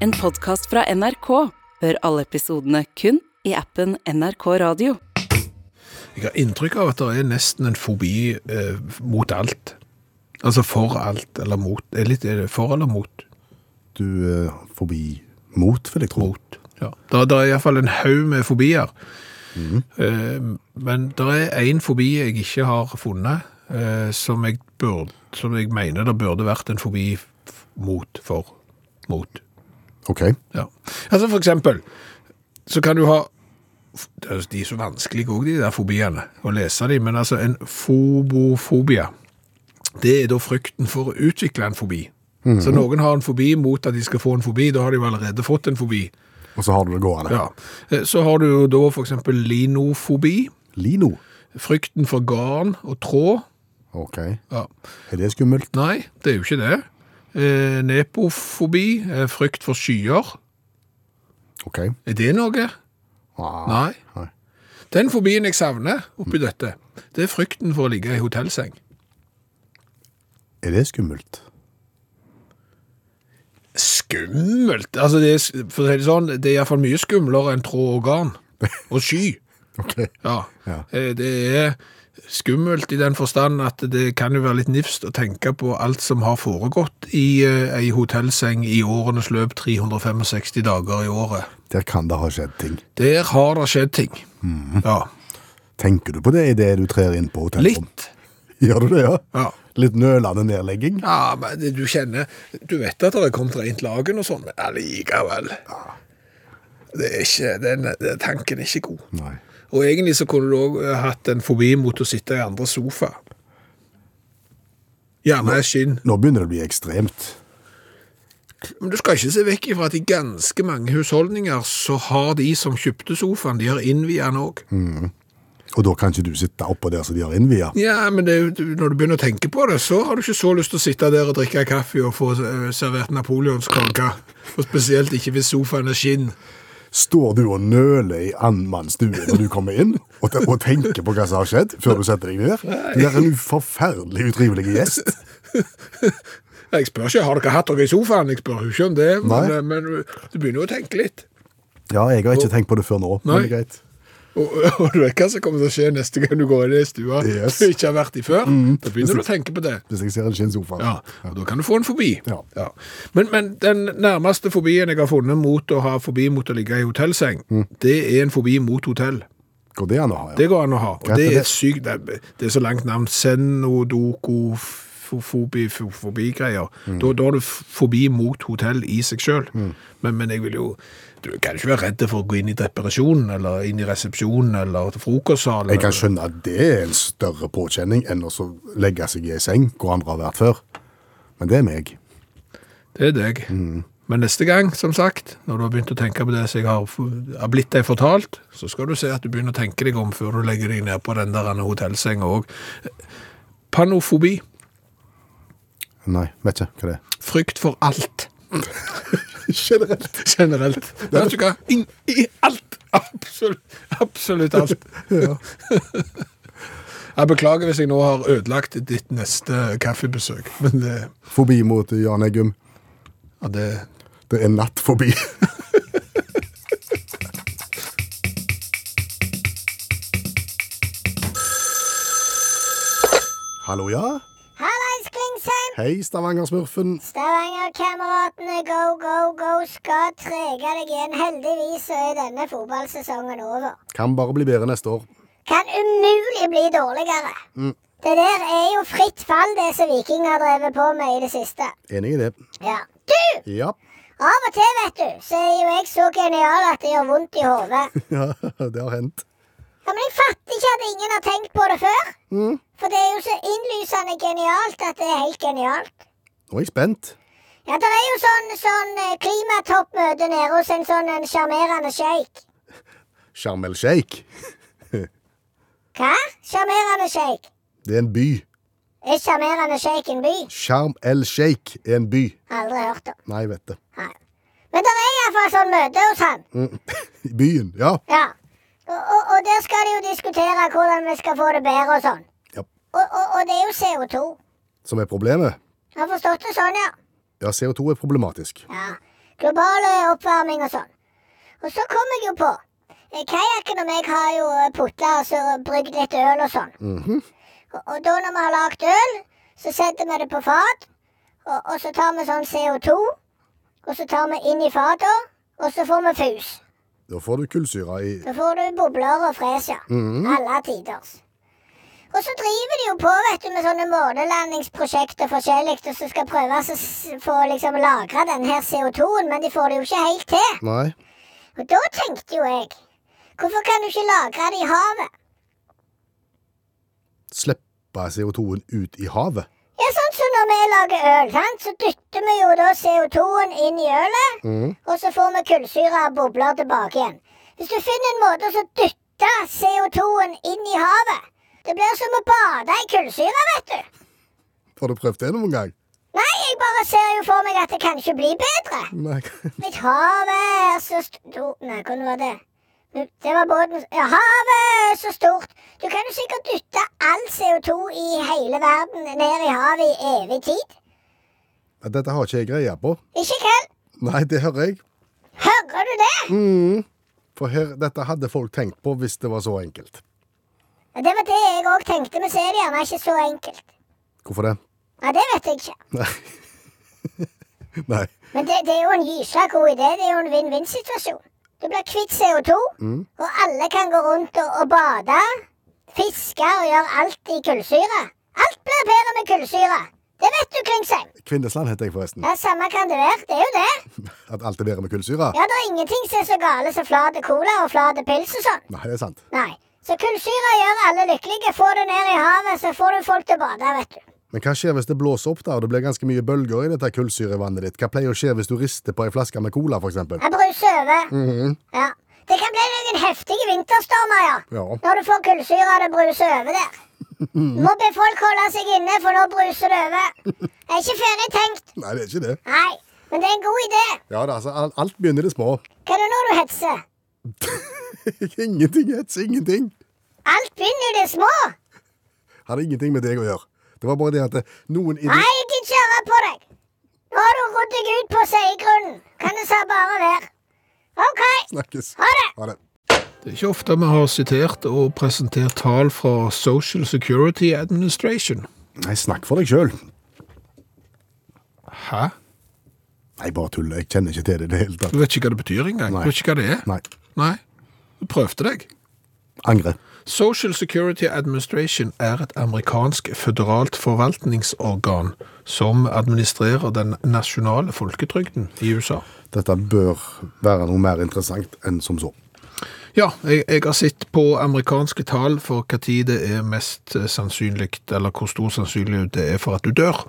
en podkast fra NRK. Hør alle episodene kun i appen NRK Radio. Jeg har inntrykk av at det er nesten en fobi eh, mot alt. Altså for alt eller mot. Er litt er det for eller mot? Du eh, forbi mot, vil jeg tro. Mot. Ja. Det, det er iallfall en haug med fobier. Eh, men det er én fobi jeg ikke har funnet, eh, som, jeg burde, som jeg mener det burde vært en fobi f- mot for. Mot. Ok. Ja. Altså for eksempel, så kan du ha det er jo- De er så vanskelige òg, de der fobiene, å lese de, men altså en fobofobia. Det er da frykten for å utvikle en fobi. Så noen har en fobi mot at de skal få en fobi, da har de jo allerede fått en fobi. Og så har du det gående. Ja. Eh, Så har du jo da for eksempel linofobi, Lino. frykten for garn og tråd. Ok. Ja. Er det skummelt? Nei, det er jo ikke det. Eh, Nepofobi, eh, frykt for skyer. Ok. Er det noe? Ah. Nei. Nei. Den fobien jeg savner oppi dette, det er frykten for å ligge i hotellseng. Er det skummelt? Skummelt! Altså, det er, s- for å si det sånn, det er iallfall mye skumlere enn tråd og garn. Og sky. Ok. Ja. Ja. Eh, Det er skummelt i den forstand at det kan jo være litt nifst å tenke på alt som har foregått i eh, ei hotellseng i årenes løp 365 dager i året. Der kan det ha skjedd ting. Der har det skjedd ting. Ja. Tenker du på det idet du trer inn på hotellrom? Litt. Gjør du det, ja? Ja. Litt nølende nedlegging? Ja, men det- du kjenner Du vet at det er kommet rent lagen og sånn, men allikevel. Det er ikke, den, den tanken er ikke god. Nei. Og egentlig så kunne du òg hatt en fobi mot å sitte i andre sofa. Gjerne skinn. Nå begynner det å bli ekstremt. Men du skal ikke se vekk ifra at i ganske mange husholdninger så har de som kjøpte sofaen, de har innviet den òg. Og da kan ikke du sitte oppå der som de har innvia. Ja, men det, er jo- du- når du begynner å tenke på det, så har du ikke så lyst til å sitte der og drikke kaffe og få eh, servert napoleonskake. Og spesielt ikke hvis sofaen er skinn. Står du og nøler i annenmannsstue når du kommer inn, og, te og tenker på hva som har skjedd, før du setter deg ned? Du er en uforferdelig utrivelig gjest. Jeg spør ikke har dere hatt dere i sofaen, jeg spør jo ikke om det, men, Nei. men du begynner jo å tenke litt. Ja, jeg har ikke tenkt på det før nå. men Nei. det er greit. Og, og du vet hva som kommer til å skje neste gang du går inn i stua Yes. Mm. du ikke har vært i før. Da begynner du å tenke på det. Hvis jeg ser en skinnsofa. Ja, og Da kan du få en fobi. Ja. Men, men den nærmeste fobien jeg har funnet mot å ha fobi mot å ligge i hotellseng, Mm. det er en fobi mot hotell. Går det an å ha, ja? Det går an å ha. Og Hva det heter er det? et sykt Det det er så langt navn. Senodokofobi-greier. Mm. Da, da har du f- fobi mot hotell i seg sjøl. Men, men jeg vil jo Du kan ikke være redd for å gå inn i depresjonen eller inn i resepsjonen eller til frokostsalen. Jeg kan skjønne at det er en større påkjenning enn å så legge seg i ei seng hvor andre har vært før. Men det er meg. Det er deg. Mm. Men neste gang, som sagt, når du har begynt å tenke på det som jeg har, f- har blitt deg fortalt, så skal du se at du begynner å tenke deg om før du legger deg ned på den der hotellsenga òg. Panofobi. Nei, vet ikke hva det er. Frykt for alt. Generelt. Generelt. Vet du hva? I, i alt. Absolutt, absolutt alt. Jeg beklager hvis jeg nå har ødelagt ditt neste kaffebesøk, men det, Forbi mot Jan Eggum. ja, det Det er natt forbi. Hallo, ja? Hallais, Klingsheim! Hei, Stavanger-smurfen. Stavanger-kameratene go, go, go skal trege deg igjen. Heldigvis så er denne fotballsesongen over. Kan bare bli bedre neste år. Kan umulig bli dårligere. Det der er jo fritt fall, det som Viking har drevet på med i det siste. Enig i det. Ja. Du! Ja, Av og til, vet du, så er jo jeg så genial at det gjør vondt i hodet. ja det har hendt. Ja, men jeg fatter ikke at ingen har tenkt på det før. For det er jo så innlysende genialt at det er helt genialt. Nå er jeg spent. Ja, det er jo sånn, sånn eh, klimatoppmøte nede hos en sånn en sjarmerende sjeik. Sharm el Sheikh. Hva? Sjarmerende sjeik? Det er en by. Er sjarmerende sjeik en by? Sharm el Sheikh er en by. Aldri hørt om. Nei, vet det. Nei. Men det er iallfall sånn møte hos han. I byen, ja. Ja. Og, og, og der skal de jo diskutere hvordan vi skal få det bedre og sånn. Ja. Og, og, og det er jo CO2. Som er problemet. Har forstått det sånn, ja. Ja, CO2 er problematisk. ja. global eh, oppvarming og sånn. Og så kom jeg jo på eh, Kajakken og meg har jo eh, putla og så brygd litt øl og sånn. og, og da når vi har lagd øl, så setter vi det på fat, og, og så tar vi sånn CO2, og så tar vi inn i fata, og så får vi fus. Da får du kullsyre i Da får du bobler og fresia. Alle tiders. Og så driver de jo på vet du, med sånne månelandingsprosjekter forskjellig, og så skal prøve å s- få liksom lagra den her CO2-en, men de får det jo ikke helt til. Nei. Og da tenkte jo jeg, hvorfor kan du ikke lagre det i havet? Slippe CO2-en ut i havet. Ja, sånn som når vi lager øl, sant? så dytter vi jo da CO2-en inn i ølet, og så får vi kullsyre og bobler tilbake igjen. Hvis du finner en måte å så dytte CO2-en inn i havet, det blir som å bade i kullsyre, vet du. Har du prøvd det noen gang? Nei, jeg bare ser jo for meg at det kan ikke bli bedre. Nei. Litt havet er så stort Nei, hvordan var det? Nu, Det var båten Ja, havet er så stort. Du kan jo sikkert dytte all CO2 i hele verden ned i havet i evig tid. Dette har ikke jeg greie på. Ikke kveld. Nei, det hører jeg. Hører du det? Mm. For her, dette hadde folk tenkt på hvis det var så enkelt. Ja, Det var det jeg òg tenkte, men så er det gjerne ikke så enkelt. Hvorfor det? Ja, Det vet jeg ikke. Nei. Nei. Men det, det er jo en gysla god idé. Det er jo en vinn-vinn-situasjon. Du blir kvitt CO2, og alle kan gå rundt og, og bade, fiske og gjøre alt i kullsyre. Alt blir bedre med kullsyre. Det vet du, Klingsheim. Kvinnesland heter jeg forresten. Ja, Samme kan det være. Det er jo det. At alt er bedre med kullsyre? Ja, Det er ingenting som er så gale som flat cola og flat pils og sånn. Nei, det er sant. Nei. Så kullsyre gjør alle lykkelige. Få det ned i havet, så får du folk til å bade, vet du. Men hva skjer hvis det blåser opp da, og det blir ganske mye bølger i dette kullsyrevannet ditt? Hva pleier å skje hvis du rister på ei flaske med cola, for eksempel? Jeg bruser over. Ja. Det kan bli noen heftige vinterstormer, ja. Ja. Når du får kullsyre og det bruser over der. Må be folk holde seg inne, for nå bruser det over. Det er ikke ferdig tenkt. Nei, det er ikke det. Nei, men det er en god idé. Ja da, altså, al- alt begynner i det små. Hva er det nå du hetser? ingenting hets, ingenting. Alt begynner i det små. Hadde ingenting med deg å gjøre. Det var bare det at det- noen ide- Nei, jeg gidder ikke høre på deg. Nå har du rodd deg ut på seigrunnen. Kan det så bare være. OK. Snakkes. Ha det. Ha det. Det er ikke ofte vi har sitert og presentert tall fra Social Security Administration. Nei, snakk for deg sjøl. Hæ? Nei, bare tull. Jeg kjenner ikke til det i det hele tatt. Du vet ikke hva det betyr engang? Nei. Du vet ikke hva det er? Nei. Nei. Du prøvde deg. Angre. Social Security Administration er et amerikansk føderalt forvaltningsorgan som administrerer den nasjonale folketrygden i USA. Dette bør være noe mer interessant enn som så. Ja, jeg, jeg har sett på amerikanske tall for hva tid det er mest eh, sannsynlig, eller hvor stor sannsynlighet det er for at du dør.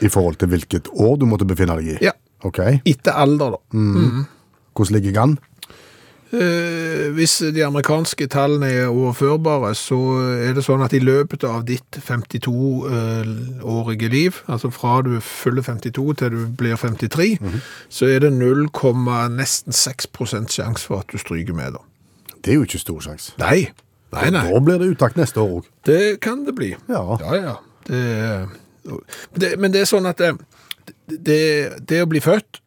I forhold til hvilket år du måtte befinne deg i? Ja. Ok. Etter alder, da. Hvordan ligger jeg an? Eh, hvis de amerikanske tallene er overførbare, så er det sånn at i løpet av ditt 52-årige liv, altså fra du fyller 52 til du blir 53, så er det 0, nesten 6 sjanse for at du stryker med, da. Det er jo ikke stor sjanse. Nei. Nei, nei. Da blir det utakt neste år òg. Det kan det bli. Ja. Ja, ja. Det, det, men det er sånn at det, det, det å bli født,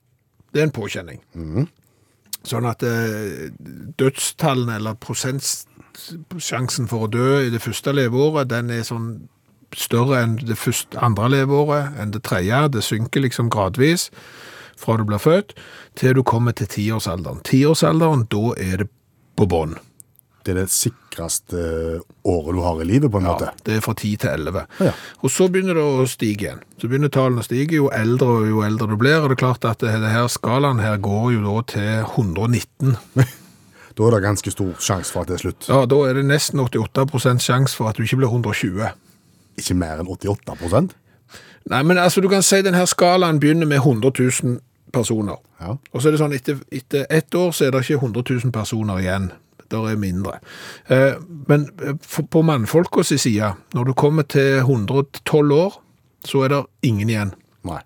det er en påkjenning. Sånn at eh, dødstallene, eller prosentsjansen for å dø i det første leveåret, den er sånn større enn det første, andre leveåret, enn det tredje. Det synker liksom gradvis fra du blir født, til du kommer til tiårsalderen. Tiårsalderen, da er det på bånn. Det er det sikreste eh, året du har i livet, på en måte. Det er fra 10 til 11. Ja. Og så begynner det å stige igjen. Så begynner tallene å stige jo eldre og jo eldre du blir. Og det er klart at det det her skalaen her går jo da til 119. Da er det ganske stor sjanse for at det er slutt. Ja, da er det nesten 88 sjanse for at du ikke blir 120. Ikke mer enn 88 Nei, men altså du kan si den her skalaen begynner med 100 000 personer. Ja. Og så er det sånn, etter, etter ett år så er det ikke 100 000 personer igjen. Der er mindre. Eh, men eh, for, på mannfolkets side, når du kommer til 112 år, så er det ingen igjen. Nei.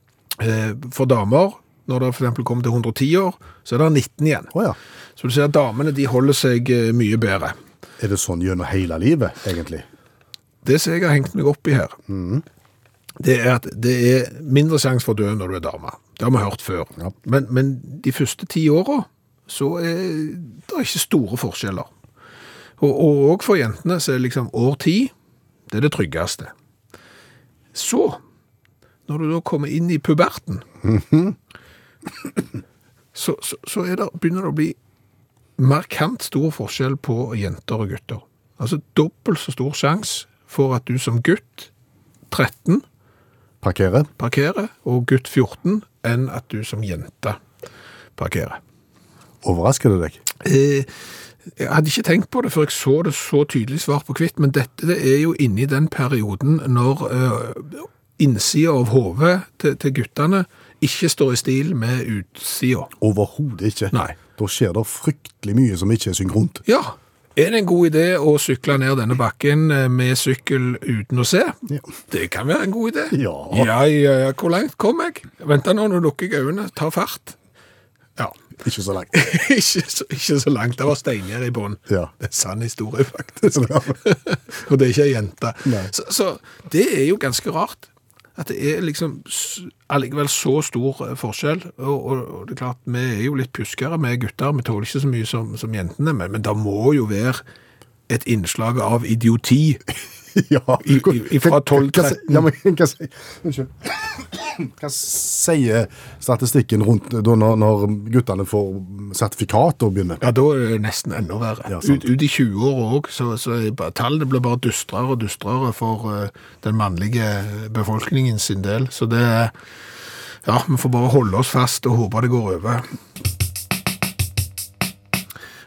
Eh, For damer, når det for eksempel kommer til 110 år, så er det 19 igjen. Å ja. Så du ser at damene de holder seg eh, mye bedre. Er det sånn gjennom hele livet, egentlig? Det som jeg har hengt meg opp i her, det er at det er mindre sjanse for å dø når du er dame. Det har vi hørt før. Ja. Men, men de første ti åra så er det ikke store forskjeller. Og og òg for jentene så er liksom år ti det er det tryggeste. Så, når du da kommer inn i puberten, så, så, så er det, begynner det å bli markant stor forskjell på jenter og gutter. Altså dobbelt så stor sjanse for at du som gutt, 13, Parkere. parkerer, og gutt 14, enn at du som jente parkerer. Overrasker det deg? Eh, jeg hadde ikke tenkt på det før jeg så det så tydelig svart på hvitt, men dette det er jo inni den perioden når eh, innsida av hodet til, til guttene ikke står i stil med utsida. Overhodet ikke. Nei. Da skjer det fryktelig mye som ikke er synkront. Ja, er det en god idé å sykle ned denne bakken eh, med sykkel uten å se? Ja. Det kan være en god idé. Ja. Ja, ja, ja. Hvor langt kom jeg? Vent da nå, nå lukker jeg øynene. Ta fart. Ja, Ikke så langt. ikke, så, ikke så langt. Det var steingjerde i bånn. Ja. Det er en sann historie, faktisk. Og det er ikke ei jente. Nei. Så, så det er jo ganske rart. At det er liksom s- allikevel så stor eh, forskjell. Og, og, og det er klart, vi er jo litt pjuskere, vi er gutter. Vi tåler ikke så mye som, som jentene, men, men det må jo være et innslag av idioti. Ja. I- i- fra 12, Hva- hva- Ja, men hva sier Unnskyld. Hva sier statistikken rundt da når, når guttene får sertifikat og begynner? Ja, da er det nesten enda verre. Ja, sant. ut, ut i 20-åra òg, så, så er bare- tallene blir bare dustrere og dustrere for eh, den mannlige befolkningen sin del. Så det er Ja, vi får bare holde oss fast og håpe det går over.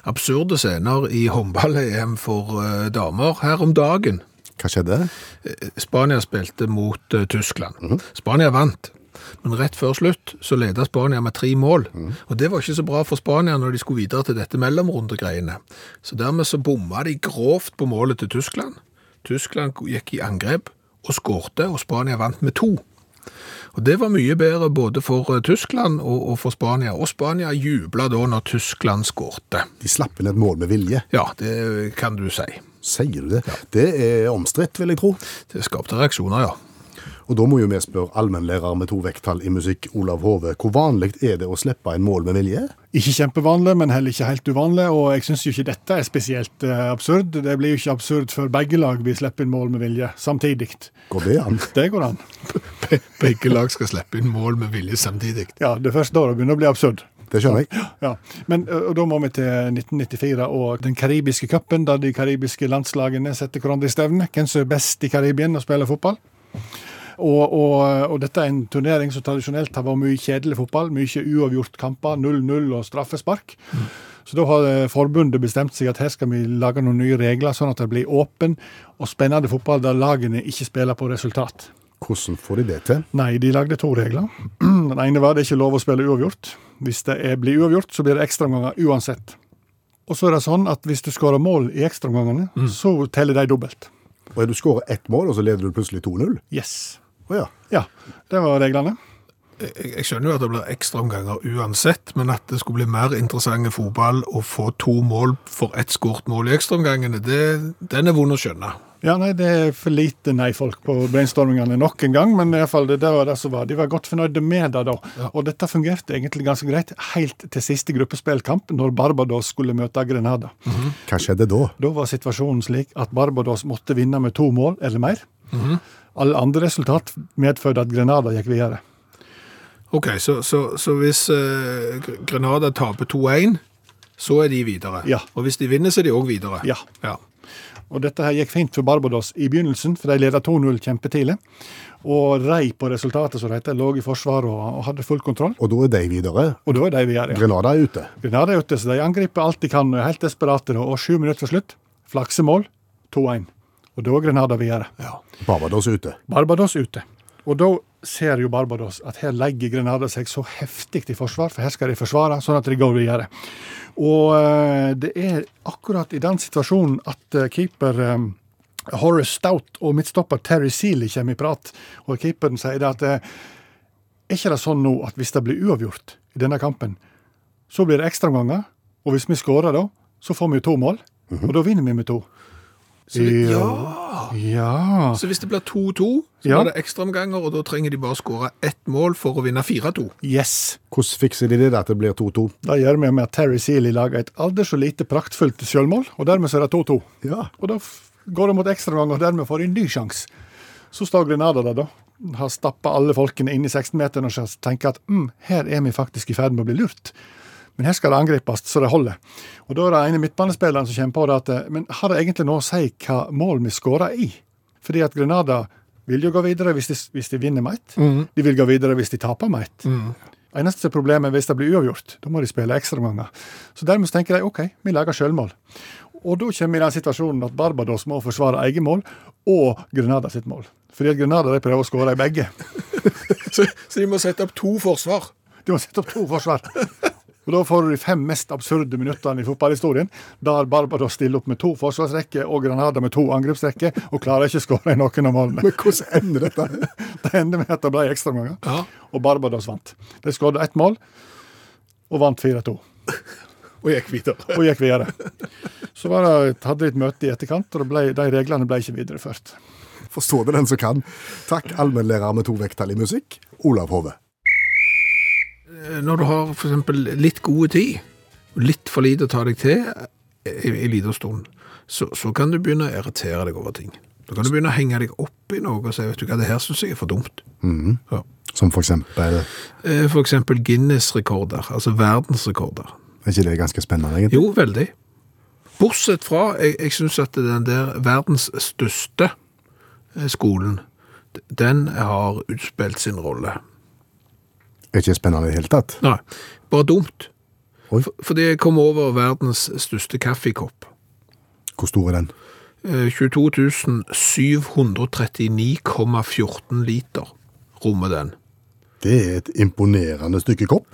Absurde scener i håndball-EM for eh, damer her om dagen. Hva skjedde? Spania spilte mot eh, Tyskland. Spania vant. Men rett før slutt så leda Spania med tre mål. Og det var ikke så bra for Spania når de skulle videre til dette mellomrundegreiene. Så dermed så bomma de grovt på målet til Tyskland. Tyskland gikk i angrep og skårte, og Spania vant med to. Og Det var mye bedre både for eh, Tyskland og, og for Spania. Og Spania jubla da når Tyskland skårte. De slapp inn et mål med vilje. Ja, det kan du si. Sier du det? Det er omstridt, vil jeg tro. Det skapte reaksjoner, ja. Og da må jo vi spørre allmennlærer med to vekttall i musikk, Olav Hove, hvor vanlig er det å slippe inn mål med vilje? Ikke kjempevanlig, men heller ikke helt uvanlig. Og jeg syns jo ikke dette er spesielt eh, absurd. Det blir jo ikke absurd før begge lag vil slippe inn mål med vilje samtidig. Går det an? Det går an. Be- Begge lag skal slippe inn mål med vilje samtidig. Ja, det er først da det begynner å bli absurd. Det skjønner jeg. Ja, men ø, og Da må vi til 1994 og den karibiske cupen, der de karibiske landslagene setter hverandre i stevne. Hvem som er best i Karibien og spiller fotball. Og, og, og dette er en turnering som tradisjonelt har vært mye kjedelig fotball. Mye uavgjort kamper, 0-0 og straffespark. Så da har eh, forbundet bestemt seg at her skal vi lage noen nye regler, sånn at det blir åpen og spennende fotball der lagene ikke spiller på resultat. Hvordan får de det til? Nei, de lagde to regler. Den ene var det er ikke lov å spille uavgjort. Hvis det er, blir uavgjort, så blir det ekstraomganger uansett. Og så er det sånn at hvis du skårer mål i ekstraomgangene, så teller de dobbelt. Og er du skårer ett mål, og så leder du plutselig 2-0? Yes. Å ja. Ja, det var reglene. Jeg, jeg skjønner jo at det blir ekstraomganger uansett, men at det skulle bli mer interessant i fotball å få to mål for ett skåret mål i ekstraomgangene, det- den er vond å skjønne. Ja, nei, det er for lite nei-folk på brainstormingene nok en gang, men i alle fall, det, det var det som var. De var godt fornøyde med det da. Og dette fungerte egentlig ganske greit helt til siste gruppespillkamp, når Barbados skulle møte Grenada. Hva skjedde da? Da var situasjonen slik at Barbados måtte vinne med to mål eller mer. Alle andre resultat medførte at Grenada gikk videre. Ok, så, så, så hvis eh, Gr- Grenada taper 2-1, så er de videre. Ja. Og hvis de vinner, så er de òg videre. Ja. Og dette her gikk fint for Barbados i begynnelsen, for de leda 2-0 kjempetidlig. Og rei på resultatet, som det heter, lå i forsvaret og, og hadde full kontroll. Og da er de videre. Og da er de videre. ja. Grenada er ute. Grenada er ute, så de angriper alt de kan, og er helt desperate. da. Og sju minutter til slutt, flaksemål, 2-1. Og da er Grenada videre. Barbados er ute. Barbados ute. Og da ser jo Barbados at her legger Grenada seg så heftig i forsvar, for her skal de forsvare, sånn at de går videre. Og eh, det er akkurat i den situasjonen at eh, keeper eh, Horace Stout og midtstopper Terry Seeley kommer i prat, og keeperen sier det at eh, er ikke det sånn nå at hvis det blir uavgjort i denne kampen, så blir det ekstraomganger, og hvis vi skårer da, Mhm. så får vi jo to mål, og da vinner vi med to. Så vi- Ja. ja. Ja. Så hvis det blir 2-2, så Ja. blir det ekstraomganger, og da trenger de bare skåre ett mål for å vinne 4-2. Yes. Hvordan fikser de det der at det blir 2-2? Det gjør vi med at Terry Seeley lager et aldri så lite praktfullt selvmål, og dermed så er det 2-2. Ja. Og da f- går det mot ekstraomgang, og dermed får de en ny sjanse. Så står Grenada der, da. Har stappa alle folkene inn i 16-meteren og skal tenke at mm, her er vi faktisk i ferd med å bli lurt. Men her skal det angripes så det holder. Og da er det ene midtbanespilleren som kommer på det at eh, Men har det egentlig noe å si hva mål vi skårer i? Fordi at Grenada vil jo gå videre hvis de, hvis de vinner med ett. De vil gå videre hvis de taper med ett. Eneste problemet er hvis det blir uavgjort. Da må de spille ekstraomganger. Så dermed så tenker de OK, vi lager sjølmål. Og da kommer vi i den situasjonen at Barbados må forsvare eget mål og Grenada sitt mål. Fordi at Grenada de prøver å skåre i begge. Så, så de må sette opp to forsvar. De må sette opp to forsvar. Og Da får du de fem mest absurde minuttene i fotballhistorien, der Barbados stiller opp med to forsvarsrekker og Granada med to angrepsrekker, og klarer ikke å skåre i noen av målene. Men hvordan ender dette? Det ender med at det ble ekstraomganger, Ja. og Barbados vant. De skåret ett mål, og vant 4-2. Og gikk videre. Og gikk videre. Så var det, hadde de et møte i etterkant, og det ble, de reglene ble ikke videreført. Forstå det den som kan. Takk, allmennlærer med to vekttall i musikk, Olav Hove. Når du har for eksempel litt gode tid, og litt for lite å ta deg til i en liten stund, så, så kan du begynne å irritere deg over ting. Da kan du begynne å henge deg opp i noe og si vet du hva, det her syns jeg er for dumt. ja. Som for eksempel Eh, For eksempel Guinness-rekorder, altså verdensrekorder. Er ikke det ganske spennende, egentlig? Jo, veldig. Bortsett fra, jeg, jeg syns at den der verdens største eh, skolen, d- den har utspilt sin rolle. Er ikke spennende i det hele tatt? Nei, bare dumt. Oi. For, fordi jeg kom over verdens største kaffekopp. Hvor stor er den? Eh, 22 739,14 liter rommer den. Det er et imponerende stykke kopp.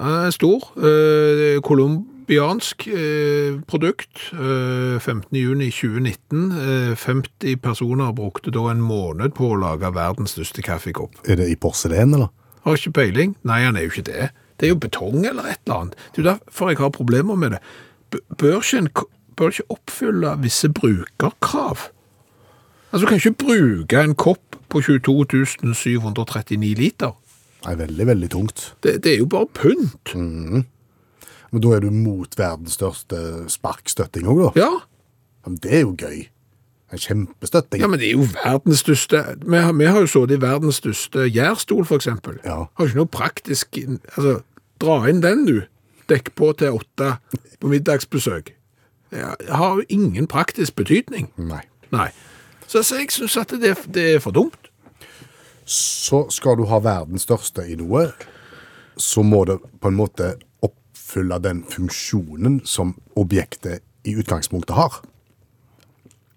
Den er stor. Eh, Kolumbiansk eh, produkt. Eh, 15.6.2019. Eh, 50 personer brukte da en måned på å lage verdens største kaffekopp. Er det i porselen, eller? Har ikke peiling. Nei, han er jo ikke det. Det er jo betong eller et eller annet. Det er jo derfor jeg har problemer med det. B bør, ikke en, k- bør ikke oppfylle visse brukerkrav? Altså, du kan ikke bruke en kopp på 22 739 liter. Nei, veldig, veldig tungt. Det, det er jo bare pynt. Men da er du mot verdens største sparkstøtting òg, da? Ja. Men det er jo gøy. En kjempestøtting. Ja, men det er jo verdens største Vi har, vi har jo sittet i verdens største gjærstol, for eksempel. Ja. Har ikke noe praktisk Altså, dra inn den, du. Dekk på til åtte på middagsbesøk. Ja, har jo ingen praktisk betydning. Nei. Nei. Så, så jeg syns at det, det er for dumt. Så skal du ha verdens største i noe, så må det på en måte oppfylle den funksjonen som objektet i utgangspunktet har.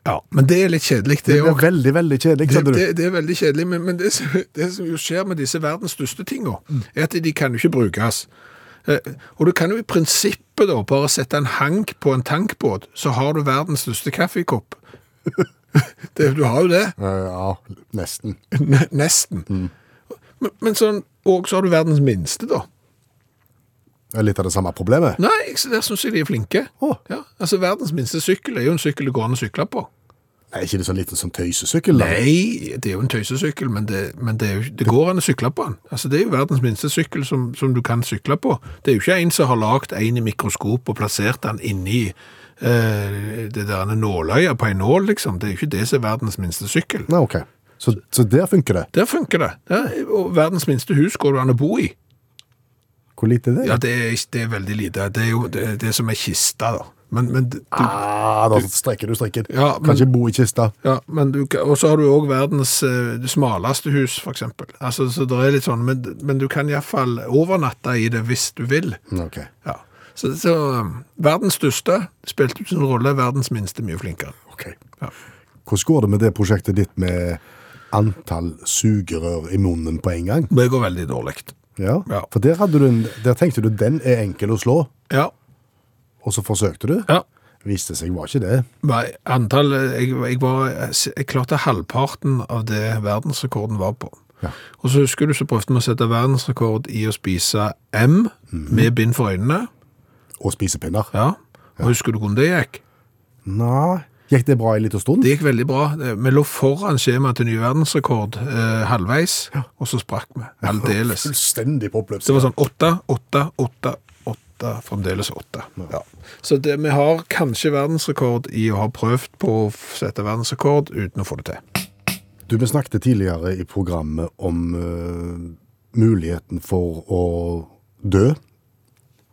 Ja, Men det er litt kjedelig, det Det òg. blir veldig, veldig kjedelig, Det, skjønner du. det, det er veldig kjedelig, men, men det, som- det som jo skjer med disse verdens største tinga, Mm. er at de kan jo ikke brukes. Eh, Og du kan jo i prinsippet da bare sette en hank på en tankbåt, så har du verdens største kaffekopp. Det, du har jo det, Eh, Ja, nesten. ne- nesten. Mm. Men, men sånn, og så har du verdens minste da. Det er Litt av det samme problemet. Nei, jeg- der synes jeg de er flinke. Å. Ja, altså verdens minste sykkel er jo en sykkel det går an å sykle på. Er ikke det sånn liten sånn tøysesykkel? da? Nei, det er jo en tøysesykkel, men det, men det, er jo, ikke- det går an å sykle på den. Altså, det er jo verdens minste sykkel som, som du kan sykle på. Det er jo ikke en som har lagd en i mikroskop og plassert den inni eh, det der ene nåløyet på en nål, liksom. Det er jo ikke det som er verdens minste sykkel. Nei, ok. Så, så der funker det. Der funker det. Ja, og verdens minste hus går det an å bo i. Hvor lite er det? Ja, det er, ikke- det er veldig lite. Det er jo det, det som er kista, da. Men, men du, Ah, da strekker du strikken. Ja, men- Kan ikke bo i kista. Ja, men du, kan- og så har du òg verdens eh, det smaleste hus, for eksempel. Altså, så det er litt sånn, men, men du kan iallfall overnatte i det hvis du vil. Ok. Ja. Så, så um, verdens største spilte ut sin rolle, verdens minste mye flinkere. ok. Ja. Hvordan går det med det prosjektet ditt med antall sugerør i munnen på en gang? Det går veldig dårlig. Ja, Ja. for der, hadde du en, der tenkte du den er enkel å slå, Ja. og så forsøkte du. ja. Viste seg var ikke det. Nei, Antall eh, jeg, jeg, var, jeg klarte halvparten av det verdensrekorden var på. Ja. Og så husker du så prøvde vi å sette verdensrekord i å spise M med bind for øynene. Og spisepinner. Ja. Og Husker du hvordan det gikk? Nei. Gikk det bra en liten stund? Det gikk veldig bra. Eh, Vi lå foran skjemaet til ny verdensrekord eh, halvveis, og så sprakk vi. Aldeles. Fullstendig på oppløpssiden. Så det var sånn åtte, åtte, åtte, åtte, fremdeles åtte. Ja. Så det, vi har kanskje verdensrekord i å ha prøvd på å f- sette verdensrekord uten å få det til. Du, vi snakket tidligere i programmet om eh, muligheten for å dø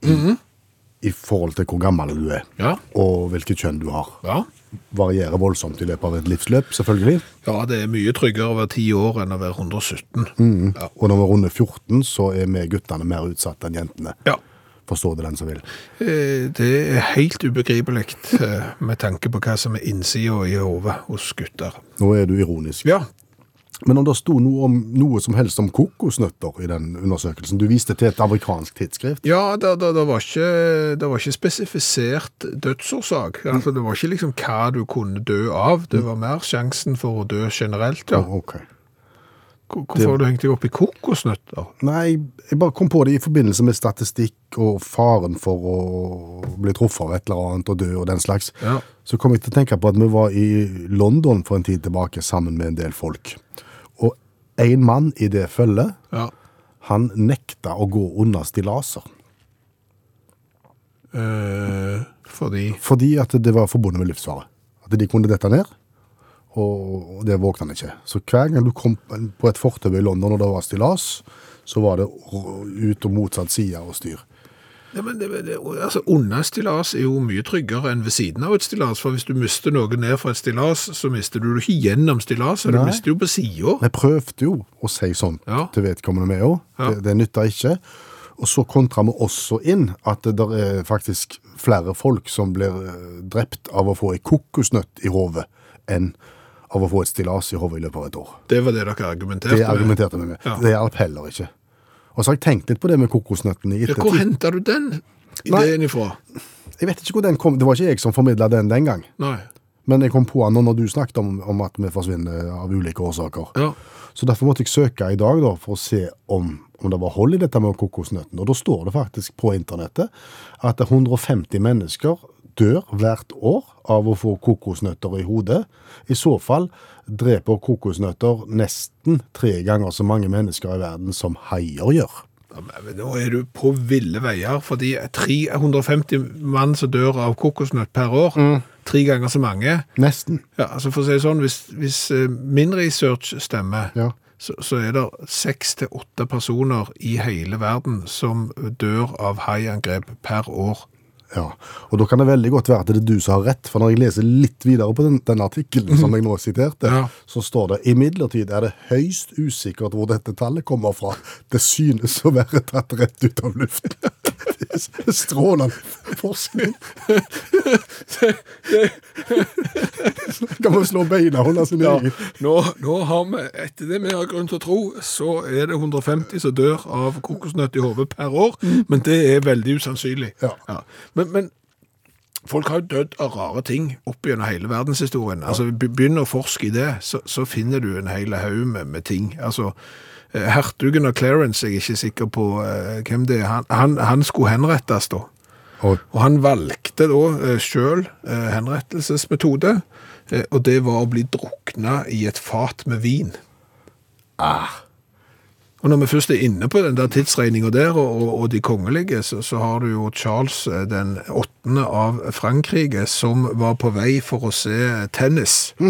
Mhm. i forhold til hvor gammel du er, Ja. og hvilket kjønn du har. Ja. Varierer voldsomt i løpet av et livsløp, selvfølgelig. det er mye tryggere å være ti år enn å være 117. Ja. Og når vi runder 14, så er vi guttene mer utsatt enn jentene. ja. Forstår det den som vil. Eh, Det er helt ubegripelig eh, med tanke på hva som er innsida i hodet hos gutter. Nå er du ironisk. Ja, Men om det sto noe, om, noe som helst om kokosnøtter i den undersøkelsen Du viste til et amerikansk tidsskrift. Ja, det, det, det, var ikke, det var ikke spesifisert dødsårsak. Altså, det var ikke liksom hva du kunne dø av. Det var mer sjansen for å dø generelt. Ja. Ok. Hvor- Hvorfor har du hengt deg opp i kokosnøtter? Nei, jeg bare kom på det i forbindelse med statistikk og faren for å bli truffet av et eller annet og dø og den slags. Ja. Så kom jeg til å tenke på at vi var i London for en tid tilbake sammen med en del folk. Og en mann i det følget, Ja. han nekta å gå under stillaser. Eh, fordi Fordi at det var forbundet med livsfare. At de kunne dette ned, og det vågte han ikke. Så hver gang du kom på et fortøv i London og det var stillas, så var det ut og motsatt side og styr. ja, men det, det, altså, Under stillas er jo mye tryggere enn ved siden av et stillas. For hvis du mister noe ned fra et stillas, så mister du det ikke gjennom stillaset. Du Nei. mister jo på sida. Vi prøvde jo å si sånn Ja. til vedkommende vi òg. Ja. Det, det nytta ikke. Og så kontra vi også inn at det der er faktisk flere folk som blir eh, drept av å få ei kokosnøtt i hodet, enn av å få et stillas i hodet i løpet av et år. Det var det dere argumenterte Det argumenterte vi med. Ja. Det hjalp heller ikke. Og så har jeg tenkt litt på det med kokosnøttene i Ja, hvor ettertid. henta du den Nei. ideen ifra? Jeg vet ikke hvor den kom. Det var ikke jeg som formidla den den gang. Nei. Men jeg kom på den nå når du snakket om, om at vi forsvinner av ulike årsaker. Ja. Så derfor måtte jeg søke i dag da, for å se om, om det var hold i dette med kokosnøtten. Og da står det faktisk på internettet at 150 mennesker dør hvert år av å få kokosnøtter i hodet. I så fall dreper kokosnøtter nesten tre ganger så mange mennesker i verden som haier gjør. Ja, men Nå er du på ville veier, fordi 350 mann som dør av kokosnøtt per år, tre ganger så mange. Nesten. Ja, altså for å si det sånn, hvis, hvis eh, min research stemmer, Ja. så, så er det seks til åtte personer i hele verden som dør av haiangrep per år. Ja, og da kan det veldig godt være at det er du som har rett, for når jeg leser litt videre på den, den artikkelen som jeg nå siterte, Ja. så står det imidlertid er det høyst usikkert hvor dette tallet kommer fra. Det synes å være tatt rett ut av luften. Det er Strålende forskning. Kan man slå beina under sin egen? nå, nå har vi, etter det vi har grunn til å tro, så er det 150 som dør av kokosnøtt i hodet per år, men det er veldig usannsynlig. Ja. Men, men folk har jo dødd av rare ting opp gjennom hele verdenshistorien. Altså, be- Begynn å forske i det, så, så finner du en hel haug med, med ting. Altså, eh, Hertugen av Clarence, jeg er ikke sikker på eh, hvem det er, han, han, han skulle henrettes da. Oi. Og han valgte da eh, sjøl eh, henrettelsesmetode, eh, og det var å bli drukna i et fat med vin. Og når vi først er inne på den der tidsregninga der, og, og, og de kongelige, så, så har du jo Charles eh, den åttende av Frankrike, som var på vei for å se tennis.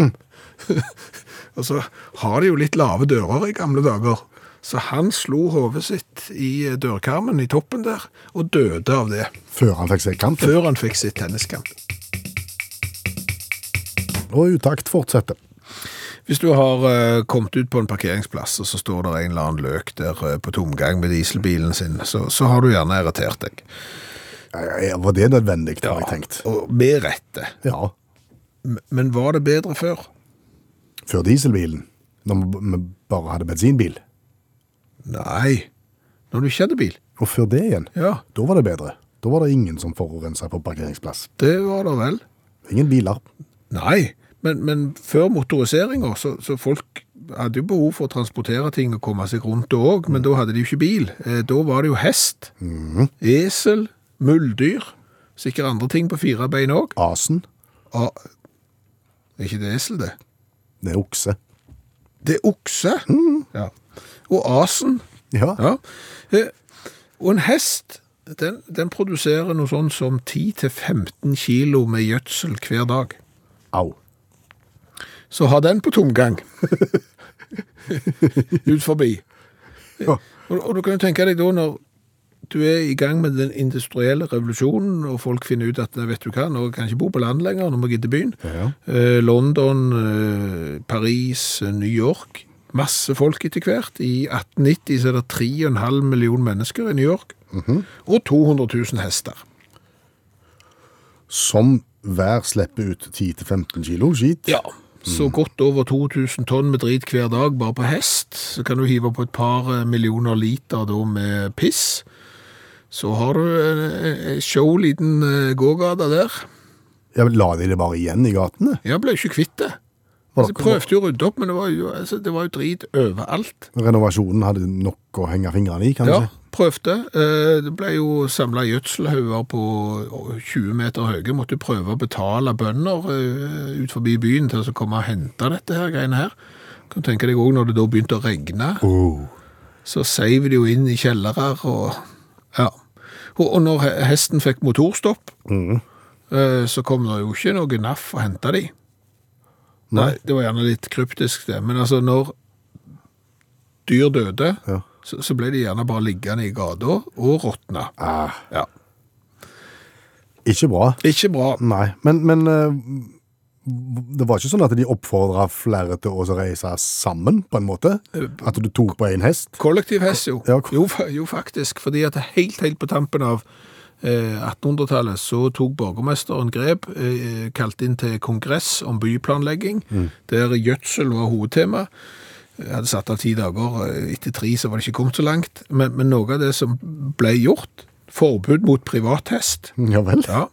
og så har de jo litt lave dører i gamle dager. Så han slo hodet sitt i eh, dørkarmen i toppen der, og døde av det. Før han fikk se kampen. Før han fikk sitt tenniskamp. Og utakt fortsetter. Hvis du har eh, kommet ut på en parkeringsplass, og så står det en eller annen løk der eh, på tomgang med dieselbilen sin, så, så har du gjerne irritert deg. Eh, Var det nødvendig, har jeg tenkt. Og med rette. Ja, M- Men var det bedre før? før dieselbilen, når vi vi bare hadde bensinbil. Nei. Når du ikke hadde bil? Og før det igjen, Ja, da var det bedre. Da var det ingen som forurensa på parkeringsplass. det var det vel. Ingen biler. Nei, men, men før motoriseringa, så, så folk hadde jo behov for å transportere ting og komme seg rundt det òg, men da hadde de jo ikke bil. Eh, Da var det jo hest, esel, muldyr, sikkert andre ting på fire bein òg. Asen. Er ikke det esel, det? Det er okse. Det er okse. Ja. Og asen. Ja. Ja. Eh, Og en hest, den, den produserer noe sånn som 10-15 kilo med gjødsel hver dag. Au. Så ha den på tomgang. Ut forbi. Ja. Og, og du kan jo tenke deg da når du er i gang med den industrielle revolusjonen, og folk finner ut at vet du hva, nå kan jeg ikke bo på land lenger, nå må jeg gidde byen. Ja. Eh, London, eh, Paris, eh, New York. Masse folk etter hvert. I 1890 så er det 3,5 millioner mennesker i New York. Mhm. Og 200 000 hester. Som hver slipper ut 10-15 kilo skit. Ja. Så godt over 2000 tonn med drit hver dag bare på hest. Så kan du hive på et par eh, millioner liter da med piss. Så har du en eh, en show liten eh, gågata der. Ja, men La de det bare igjen i gatene? Jeg ble jo ikke kvitt det. Var Altså, det- prøvde jo å rydde opp, men det var jo, altså, det var jo drit overalt. Renovasjonen hadde nok å henge fingrene i, Ja, kanskje? prøvde. Eh, Det ble jo samla gjødselhauger på 20 meter høye. Måtte jo prøve å betale bønder eh, ut forbi byen til å komme og hente dette her greiene her. Kan tenke deg òg når det da begynte å regne, Oh. så seiv det jo inn i kjellerer og Ja. Og, og når he- hesten fikk motorstopp, Mm. eh, så kom det jo ikke noe naff å hente de. Nei, det var gjerne litt kryptisk det, men altså når dyr døde, Ja. så, så ble de gjerne bare liggende i gata og råtne. Ah, Ja. ikke bra. Ikke bra. Nei, men, men eh, det var ikke sånn at de oppfordra flere til å reise sammen, på en måte? Eh, At du tok på én hest? Kollektiv hest, jo. Ja, ko- jo. fa- Jo, faktisk. Fordi at helt, helt på tampen av eh, 1800-tallet så tok borgermesteren grep, eh, kalt inn til kongress om byplanlegging, Mm. der gjødsel var hovedtema. Jeg hadde satt av ti dager, eh, etter tre så var det ikke kommet så langt. Men, men noe av det som ble gjort, forbud mot privathest. Ja vel. Ja.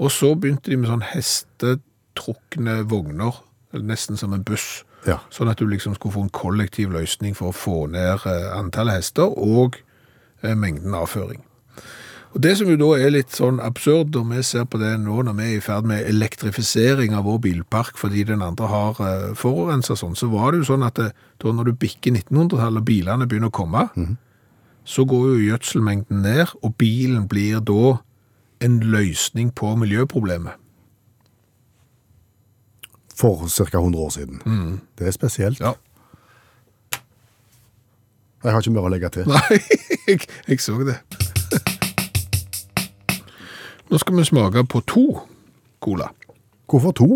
Og så begynte de med sånn hestetrukne vogner, nesten som en buss. Ja. Sånn at du liksom skulle få en kollektiv løsning for å få ned eh, antallet hester og eh, mengden avføring. Og Det som jo da er litt sånn absurd, og vi ser på det nå når vi er i ferd med elektrifisering av vår bilpark fordi den andre har eh, forurensa sånn, så var det jo sånn at det, da når du bikker 1900-tallet og bilene begynner å komme, så går jo gjødselmengden ned, og bilen blir da en løsning på miljøproblemet. For ca. 100 år siden. Det er spesielt. Mm. Ja. Jeg har ikke mer å legge til. Nei, jeg, jeg så det. Nå skal vi smake på to cola. Hvorfor to?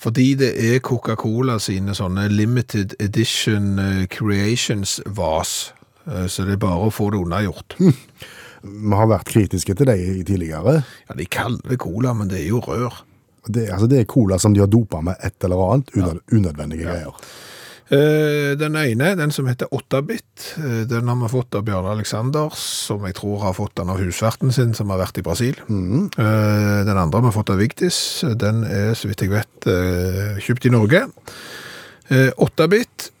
Fordi det er Coca-Cola sine sånne limited edition eh, creations vas. Eh, Så det er bare å få det unnagjort. Vi har vært kritiske til deg tidligere. Ja, de kaller det cola, men det er jo rør. Det, altså, det er cola som de har dopa med et eller annet. unød- Unødvendige greier. Eh, Den ene, den som heter 8-bit, eh, den har vi fått av Bjørn Alexander, som jeg tror har fått den av husverten sin, som har vært i Brasil. Mm. Eh, Den andre har vi fått av Vigdis, den er, så vidt jeg vet, eh, kjøpt i Norge. Eh, 8-bit,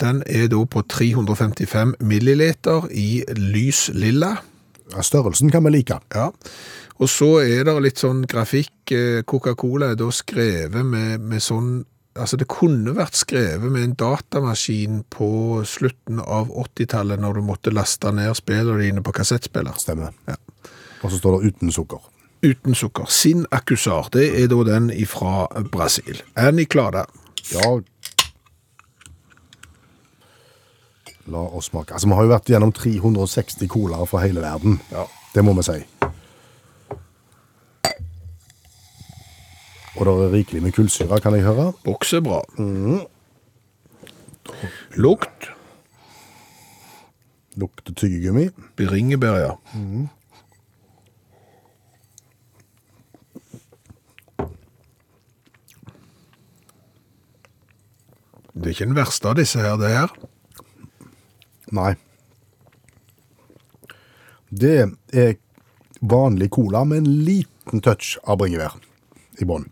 den er da på 355 milliliter i lys lilla. Ja, Størrelsen kan vi like. Ja, og så er det litt sånn grafikk. eh, Coca-Cola er da skrevet med, med sånn Altså, det kunne vært skrevet med en datamaskin på slutten av 80-tallet, når du måtte laste ned spillene dine på kassettspiller. Stemmer. Ja. Og så står det uten sukker. Uten sukker. Sin Accusar, det er da den fra Brasil. Annie Clada. Ja. La oss smake. Altså, Vi har jo vært gjennom 360 colaer fra hele verden. Ja. Det må vi si. Og det er rikelig med kullsyre, kan jeg høre. Bokser bra. Lukt. Lukter tyggegummi. Bringebær, ja. Det er ikke den verste av disse her, det her. Nei. Det er vanlig cola med en liten touch av bringebær i bånn.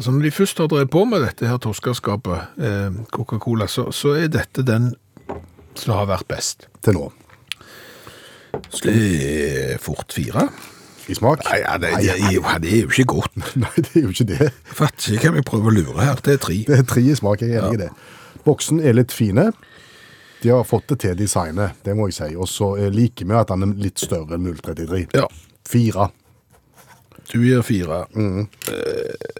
Altså, når de først har drevet på med dette her toskaskapet, eh, Coca-Cola, så, så er dette den som har vært best. Til nå. Det er fort fire. i smak. Nei, ja, det, det, er jo- det er jo ikke godt. Nei, det er jo ikke det. Jeg fatter ikke hva vi prøver å lure her. Det er tre. Det er tre i smak, jeg er enig i det. Boksen er litt fine. De har fått det til designet, det må jeg si. Og så eh, liker vi at han er litt større enn 033. Ja. Fire. Du gir fire. Eh,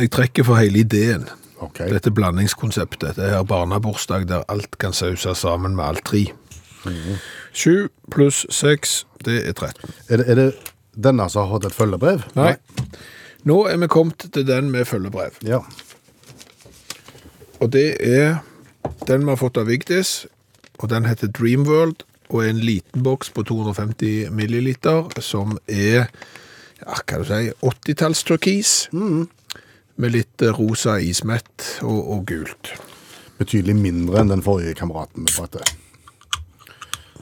Jeg trekker for hele ideen. Ok. Dette blandingskonseptet. Det her barnebursdag der alt kan sauses sammen med alt tre. Mm. Sju pluss seks, det er 13. Er det, er det denne som har fått et følgebrev? Nei. Nå er vi kommet til den med følgebrev. Ja. Og det er den vi har fått av Vigdis, og den heter Dreamworld, og er en liten boks på 250 milliliter, som er, ja, hva kan du si, 80-tallsturkis, med litt eh, rosa ismett og, og gult. Betydelig mindre enn den forrige kameraten vi pratet.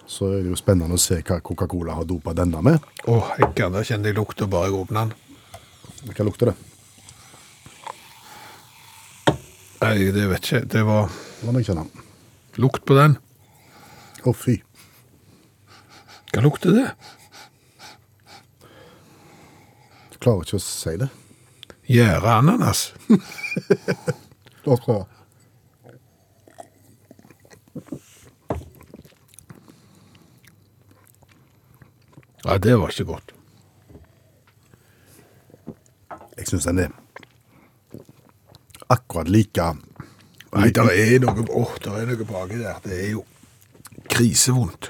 Så er det jo spennende å se hva Coca-Cola har dopa denne med. Åh, jeg kan da kjenne jeg lukter bare jeg åpner den. Hva lukter det? Nei, det vet ikke, det var La meg kjenne den. lukt på den. Å, fy. Hva lukter det? Klarer ikke å si det. Gjære ananas. La oss prøve. Ja, det var ikke godt. Jeg syns den er akkurat like Nei, der er noe, åh, der er noe baki der. Det er jo krisevondt.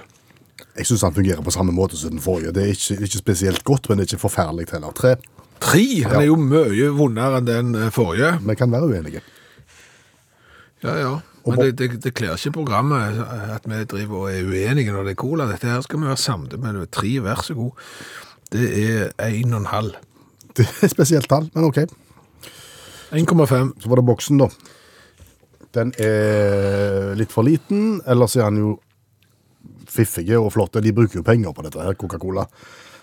Jeg syns han fungerer på samme måte som den forrige. Det er ikke, ikke spesielt godt, men det er ikke forferdelig heller. Tre. Tre? Han er jo mye vondere enn den eh, forrige. Vi kan være uenige. Ja, ja. Og Men det, det, det kler ikke programmet eh, at vi driver og er uenige når det er cola. Dette her skal vi være samlet med. Tre, vær så god. Det er en og en halv. Det er et spesielt tall, men OK. 1,5. Så var det boksen, da. Den er litt for liten, ellers er han jo fiffige og flotte. De bruker jo penger på dette her, Coca-Cola.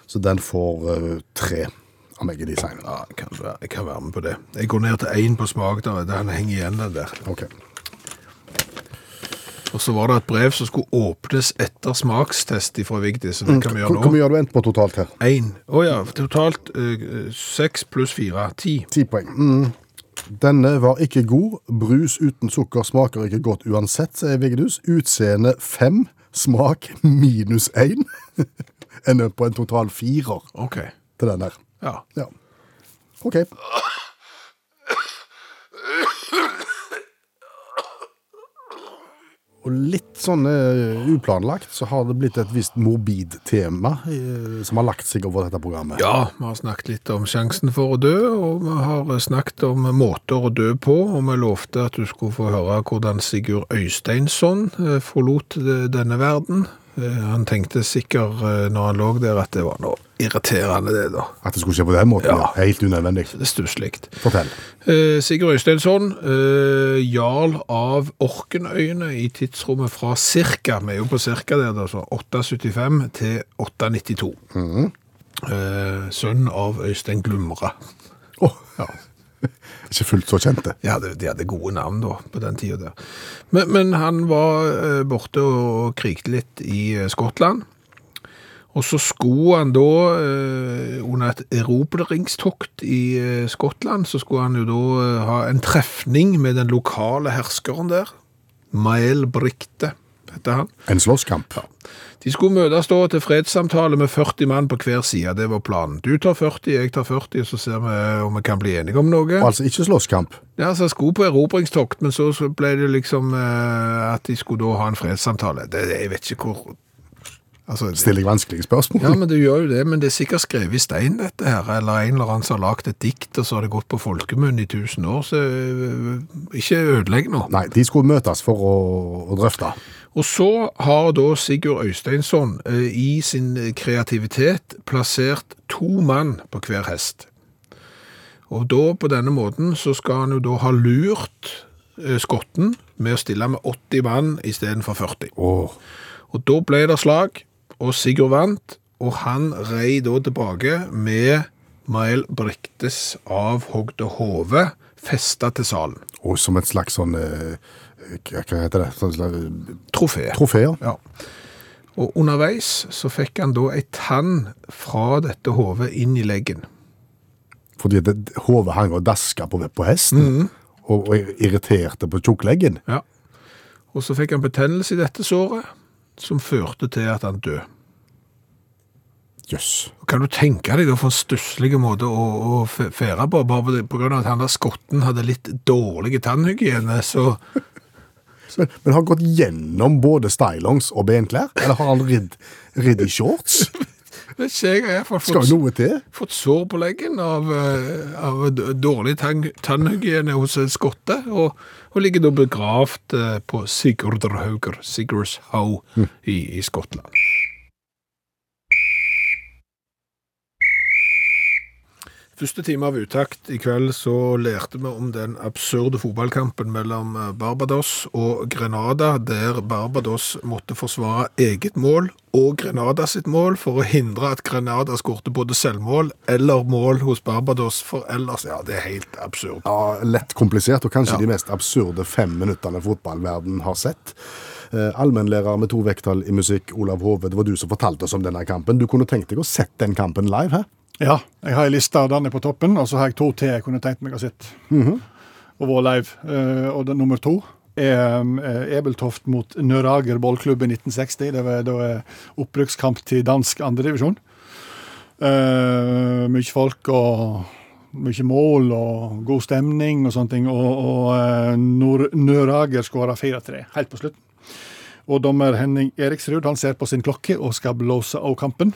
Så den får eh, tre av meg i designet. Ja, jeg kan, være, jeg kan være med på det. Jeg går ned til én på smak. Der, der han henger igjen den der. OK. Og så var det et brev som skulle åpnes etter smakstest fra Vigdis. så Det kan vi Hvor hvor gjøre nå. mye har du endt på totalt her? Én. Å ja, totalt eh, seks pluss fire. Ti. Ti poeng. Mm. Denne var ikke god. Brus uten sukker smaker ikke godt uansett, sier Vigdus. Utseende fem, smak minus én. Ender på en total firer OK. til den her. Ja. Ja. OK. Og litt sånn eh, uplanlagt så har det blitt et visst morbid tema eh, som har lagt seg over dette programmet. Ja, vi har snakket litt om sjansen for å dø, og vi har snakket om måter å dø på, og vi lovte at du skulle få høre hvordan Sigurd Øysteinsson eh, forlot eh, denne verden. Eh, Han tenkte sikkert eh, når han lå der at det var noe irriterende det da. At det skulle skje på den måten, Ja. ja. helt unødvendig. Det er stusslikt. Fortell. Eh, Sigurd Øysteinsson, eh, jarl av Orkenøyene i tidsrommet fra cirka, vi er jo på cirka der, da, så 875 til 892. eh, sønn av Øystein Glumra. Åh, Ja. ikke fullt så kjente. De hadde, de hadde gode navn da, på den tida der. Men, men han var eh, borte og krigte litt i eh, Skottland. Og så skulle han da, eh, under et erobringstokt i eh, Skottland, så skulle han jo da eh, ha en trefning med den lokale herskeren der. Mael Brikte, heter han. En slåsskamp. De skulle møtes da til fredssamtale med 40 mann på hver side, det var planen. Du tar 40, jeg tar 40, så ser vi eh, om vi kan bli enige om noe. Altså ikke slåsskamp. Ja, så jeg skulle på erobringstokt, men så så ble det liksom eh, at de skulle da ha en fredssamtale. Det, jeg vet ikke hvor altså, det- Stiller jeg vanskelige spørsmål? Ja, men det gjør jo det, men det er sikkert skrevet i stein, dette her. Eller en eller annen som har lagd et dikt, og så har det gått på folkemunn i tusen år, så eh, ikke ødelegg nå. Nei, de skulle møtes for å, å drøfte. Og så har da Sigurd Øysteinsson eh, i sin kreativitet plassert to mann på hver hest. Og da på denne måten så skal han jo da ha lurt eh, skotten med å stille med 80 mann istedenfor 40. Åh, Og da ble det slag, og Sigurd vant, og han rei da tilbake med Mael Briktes avhogde hode festa til salen. og som et slags sånn eh, Hva hva heter det? Sånn slags, Trofé. trofeer. Ja. Og underveis så fikk han da ei tann fra dette hodet inn i leggen. Fordi det- hodet hang og daska på, på Mhm. hesten, og, og irriterte på tjukkleggen. Ja. Og så fikk han betennelse i dette såret, som førte til at han døde. Jøss. Og Kan du tenke deg da for en stusslig måte å, å f- fære på? Bare på det- på grunn av at han der skotten hadde litt dårlig tannhygiene, så Men, men har han gått gjennom både stylongs og benklær? Eller har han ridd, ridd i shorts? vet ikke jeg. Jeg har i hvert fall Skal fått, jo noe til. fått sår på leggen av, eh, av d- dårlig tang, tannhygiene hos en skotte, og, og ligger da begravd eh, på Sigurdrhauger, Sigurds Howe i, i Skottland. Første time av utakt i kveld så lærte vi om den absurde fotballkampen mellom eh, Barbados og Grenada, der Barbados måtte forsvare eget mål og Grenada sitt mål for å hindre at Grenada skårte både selvmål eller mål hos Barbados, for ellers Ja, det er helt absurd. Ja, lett komplisert, og kanskje Ja. de mest absurde fem minuttene fotballverden har sett. Eh, Allmennlærer med to vekttall i musikk, Olav Hove, det var du som fortalte oss om denne kampen. Du kunne tenkt deg å sett den kampen live, hæ? Ja, jeg har ei liste, den er på toppen, og så har jeg to til jeg kunne tenkt meg å sitte. Og vært live. Eh, og den nummer to er eh, Ebeltoft mot Nørager ballklubb i 1960. Det var, det var opprykkskamp til dansk andredivisjon. Uh, mye folk og mye mål og god stemning og sånne ting. Og, og eh, Nor- Nørager skåra 4-3 helt på slutten. Og dommer Henning Eriksrud han ser på sin klokke og skal blåse av kampen.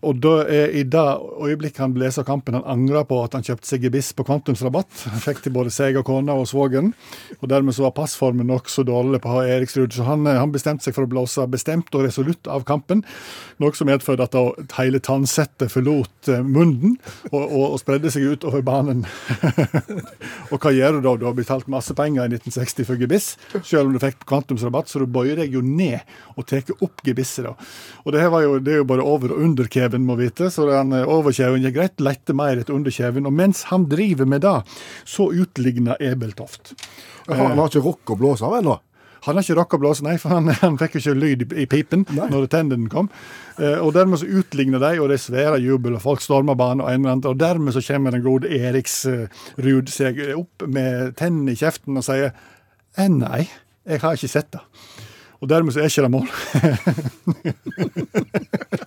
Og da er i det øyeblikket han leser kampen, han angrer på at han kjøpte seg gebiss på kvantumsrabatt. Han fikk til både seg og kona og svogeren. Og dermed så var passformen nokså dårlig på Eriksrud, så han, eh, han bestemte seg for å blåse bestemt og resolutt av kampen. Noe som medførte at da hele tannsettet forlot eh, munnen og, og, og spredde seg utover banen. og hva gjør du da? Du har betalt masse penger i 1960 for gebiss, selv om du fikk kvantumsrabatt, så du bøyer deg jo ned og tar opp gebisset. da. Og det, her var jo, det er jo bare over- og underkjeven, må vite, så den eh, overkjeven gikk greit, lette mer etter underkjeven. Og mens han driver med det, så utligner Ebeltoft. Han han har ikke rukket å blåse av ennå. Han har ikke rakk å blåse, nei, for han, han fikk jo ikke lyd i, i pipen når tendenen kom. Eh, og dermed så utligner de, og det er svære jubel, og folk stormer banen og en eller annen, og dermed så kommer den gode Eriksrud seg opp med tennene i kjeften og sier «Eh, nei, jeg har ikke sett det. Og dermed så er ikke det mål.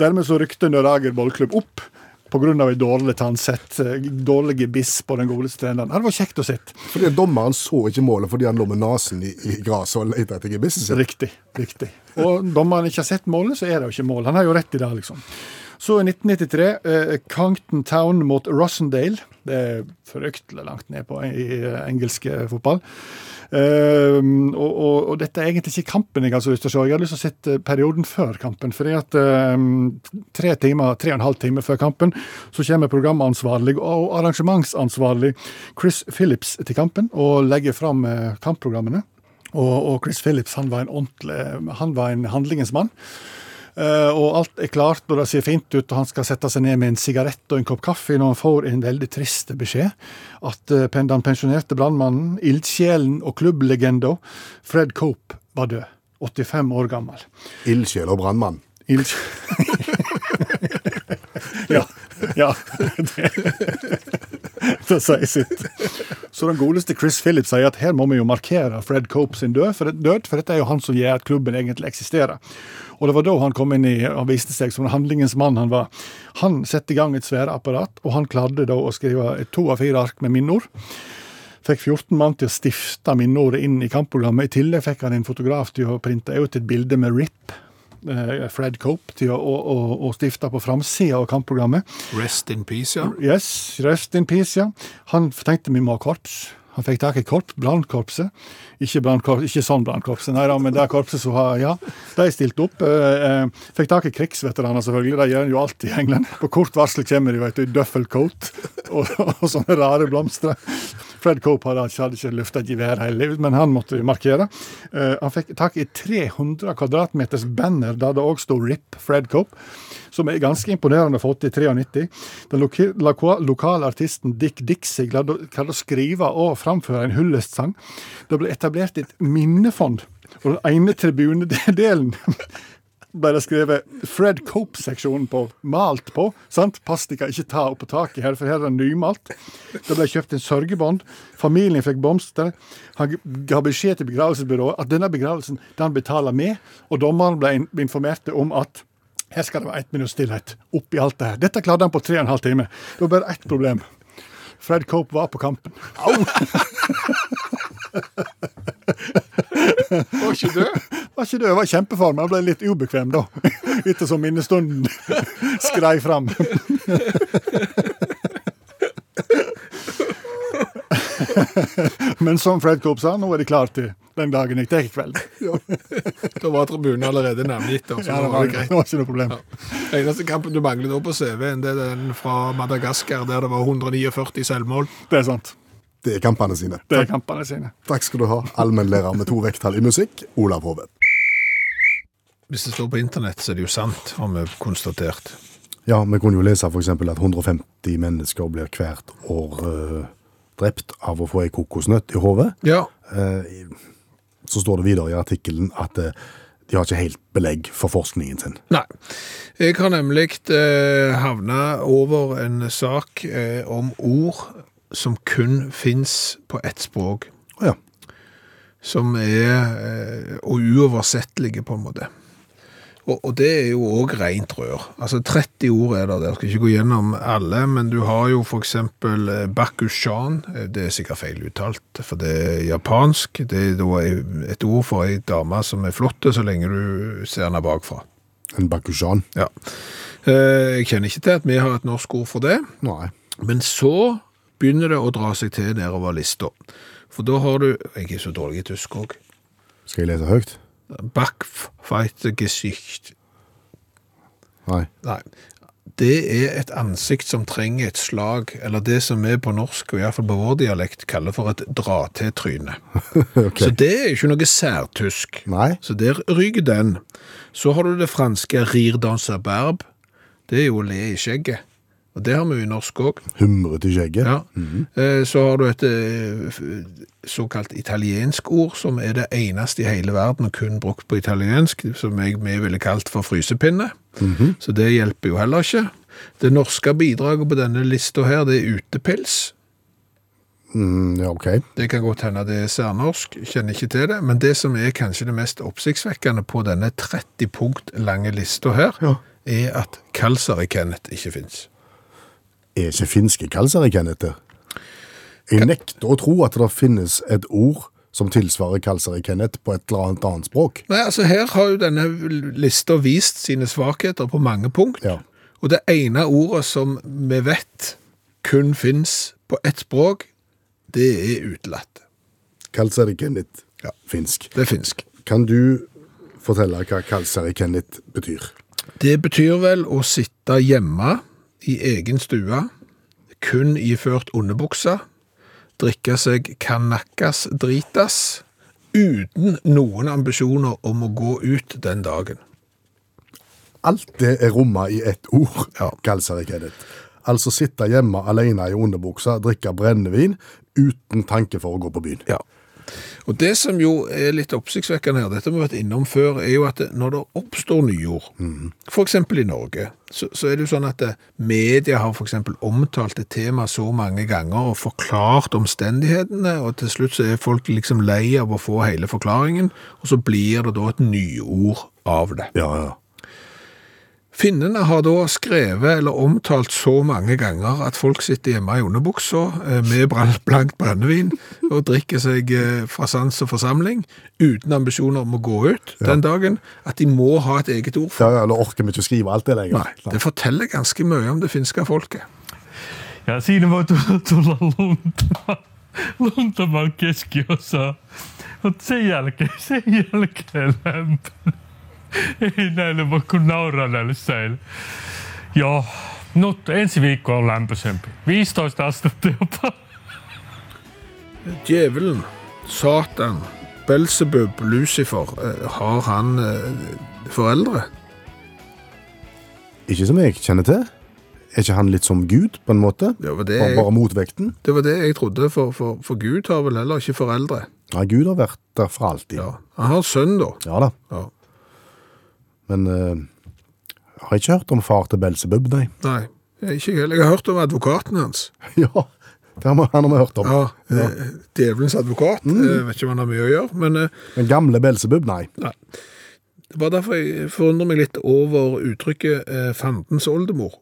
dermed så rykte Nørager ballklubb opp pga. et dårlig tannsett, eh, dårlig gebiss på den godeste treneren. Det var kjekt å sitte. Fordi Dommeren så ikke målet fordi han lå med nesen i, i gresset og lette etter gebisset sitt. Riktig. riktig. Og dommeren ikke har sett målet, så er det jo ikke mål. Han har jo rett i det, liksom. Så i 1993, eh, Conkton Town mot Rossendale. Det er fryktelig langt ned på i, i engelsk eh, fotball. Ehm, og, og, og dette er egentlig ikke kampen jeg har så lyst til å se. Jeg har lyst til å sette perioden før kampen. fordi at ehm, tre timer, tre og en halv time før kampen så kommer programansvarlig og arrangementsansvarlig Chris Phillips til kampen og legger fram eh, kampprogrammene. Og, og Chris Phillips han var en ordentlig, han var en handlingens mann. Eh, og alt er klart, og det ser fint ut, og han skal sette seg ned med en sigarett og en kopp kaffe når han får en veldig trist beskjed. At eh, pen- den pensjonerte brannmannen, ildsjelen og klubblegenda Fred Cope var død. 85 år gammel. Ildsjel og brannmann. Ilds... ja. ja. Det, det sier sitt. Så den godeste Chris Phillips sier at her må vi jo markere Fred Cope sin død, for, død, for dette er jo han som gjør at klubben egentlig eksisterer. Og det var da han kom inn i, han viste seg som den handlingens mann han var. Han satte i gang et svære apparat, og han klarte da å skrive to av fire ark med minneord. Fikk 14 mann til å stifte minneordet inn i kampprogrammet. I tillegg fikk han en fotograf til å printe ut et bilde med RIP, eh, Fred Cope, til å, å, å, å stifte på framsida av kampprogrammet. Rest in peace, ja. Yes, rest in peace, ja. Han tenkte vi må ha korps. Han fikk tak i korps, brannkorpset. Ikke, brandkorps, ikke sånn brannkorpset, nei da, men det korpset som har Ja, de stilte opp. eh, eh, fikk tak i krigsveteraner, selvfølgelig. Det gjør en jo alltid i England. På kort varsel kommer de, vet du, i duffelcoat og, og sånne rare blomster. Fred Cope hadde, ikke- hadde ikke løfta gevær hele livet, men han måtte jo markere. Eh, han fikk tak i 300 kvadratmeters banner der det òg sto RIP Fred Cope som er ganske imponerende å få til i 93. Den loki- loka- lokale artisten Dick Dixie klarte å- klarte å skrive og framføre en hyllestsang. Det ble etablert et minnefond Og den ene tribunedelen ble det skrevet Fred Cope-seksjonen på. Malt på. sant? Plastika, ikke ta oppå taket her, for her er det nymalt. Det ble kjøpt en sørgebånd. Familien fikk blomster. Han ga beskjed til begravelsesbyrået at denne begravelsen den betaler vi, og dommeren ble in- informert om at her skal det være ett minutts stillhet oppi alt det her. Dette klarte han på tre og en halv time. Det var bare ett problem. Fred Cope var på kampen. Var ikke død? Var ikke det, jeg var i kjempeform. Jeg ble litt ubekvem da, ettersom minnestunden skrei fram. Men som Fred Coop sa, nå er de klare til den dagen jeg tar i kveld. Da var tribunen allerede navngitt. da, så Ja, da det var, det var ikke noe problem. Eneste kampen du mangler da på CV-en, det er den fra Madagaskar, der det var 149 selvmål. Det er sant. Det er kampene sine. Det er kampene sine. Takk skal du ha, allmennlærer med to vekttall i musikk, Olav Hove. Hvis det står på internett, så er det jo sant, har vi konstatert. Ja, vi kunne jo lese f.eks. at 150 mennesker blir hvert år eh, drept av å få ei kokosnøtt i hodet. Ja. Eh, i- så står det videre i artikkelen at eh, de har ikke helt belegg for forskningen sin. Nei. Jeg har nemlig eh, havna over en sak eh, om ord som kun fins på ett språk. Å ja. som er eh, og uoversettelige, på en måte. Og, og det er jo òg rent rør. Altså 30 ord er det der. Jeg skal ikke gå gjennom alle, men du har jo f.eks. Bakushan. Eh, Det er sikkert feil uttalt, for det er japansk. Det er da et ord for ei dame som er flott, så lenge du ser henne bakfra. En bakushan? Ja. Eh, Jeg kjenner ikke til at vi har et norsk ord for det. Nei. Men så begynner det å dra seg til nedover lista. For da har du Jeg er så dårlig i tysk òg. Skal jeg lese høyt? Backfightergesicht. Nei. Nei. Det er et ansikt som trenger et slag, eller det som vi på norsk, og iallfall på vår dialekt, kaller for et dra-til-tryne. Ok. Så det er ikke noe særtysk. Nei. Så der ryker den. Så har du det franske rir dans berb. Det er jo å le i skjegget. Og det har vi jo i norsk òg. Humret i skjegget? Ja. Eh, Så har du et eh, f- såkalt italiensk ord, som er det eneste i hele verden og kun brukt på italiensk, som jeg vi ville kalt for frysepinne. Så det hjelper jo heller ikke. Det norske bidraget på denne lista her, det er utepils. Mm, ja, ok. Det kan godt hende det er særnorsk, kjenner ikke til det. Men det som er kanskje det mest oppsiktsvekkende på denne 30 punkt lange lista her, Ja. er at Kalsari-Kenneth ikke fins. Er ikke finske kalsari, Kenneth? det? Jeg nekter å tro at det finnes et ord som tilsvarer kalsari, Kenneth, på et eller annet annet språk. Nei, altså her har jo denne lista vist sine svakheter på mange punkt. Ja. Og det ene ordet som vi vet kun finnes på ett språk, det er utelatt. Kalsari, Kenneth. Ja. Finsk. Det er finsk. Kan du fortelle hva kalsari, Kenneth betyr? Det betyr vel å sitte hjemme i egen stue, kun iført underbuksa, drikke seg kanakkas dritas, uten noen ambisjoner om å gå ut den dagen. Alt det er romma i ett ord, Ja. kalsari, Kenneth. Altså sitte hjemme alene i underbuksa, drikke brennevin, uten tanke for å gå på byen. Ja. Og det som jo er litt oppsiktsvekkende her, dette har vi vært innom før, er jo at det- når det oppstår nyord, for eksempel i Norge, så, så er det jo sånn at eh, media har for eksempel omtalt et tema så mange ganger og forklart omstendighetene, og til slutt så er folk liksom lei av å få hele forklaringen, og så blir det da et nyord av det. Ja, ja. Finnene har da skrevet eller omtalt så mange ganger at folk sitter hjemme i underbuksa eh, med bran- blankt brennevin og drikker seg eh, fra sans og forsamling uten ambisjoner om å gå ut den dagen, at de må ha et eget ord for Ja, ja, Nå orker vi ikke å skrive alt det lenger. Nei, det forteller ganske mye om det finske folket. Ja siinä voi tulla, tulla lunta, lunta vaan keskiosaa. Mutta sen jälkeen, sen jälkeen lämpöä. Ei näille voi kuin nauraa näille säille. Joo, nyt ensi viikko on lämpöisempi. 15 astetta jopa. Djevelen, Satan, Belzebub, Lucifer, eh, har han eh, foreldre? Ikke som jeg kjenner til. Er ikke han litt som Gud, på en måte? Det var det Bare, jeg, bare motvekten? det var det jeg trodde, for, for, for Gud har vel heller ikke foreldre. Nei, Gud har vært der for alltid. Ja. Han har sønn, da. Ja da. Ja. Men eh, jeg har ikke hørt om far til Belsebub, nei. Nei, ikke jeg heller. Jeg har hørt om advokaten hans. ja, det har vi, han har vi hørt om. Ja, Mm. eh, Djevelens advokat. Jeg vet ikke om han har mye å gjøre, men eh, Men gamle Belsebub, nei. det var derfor jeg forundrer meg litt over uttrykket eh, 'fandens oldemor'.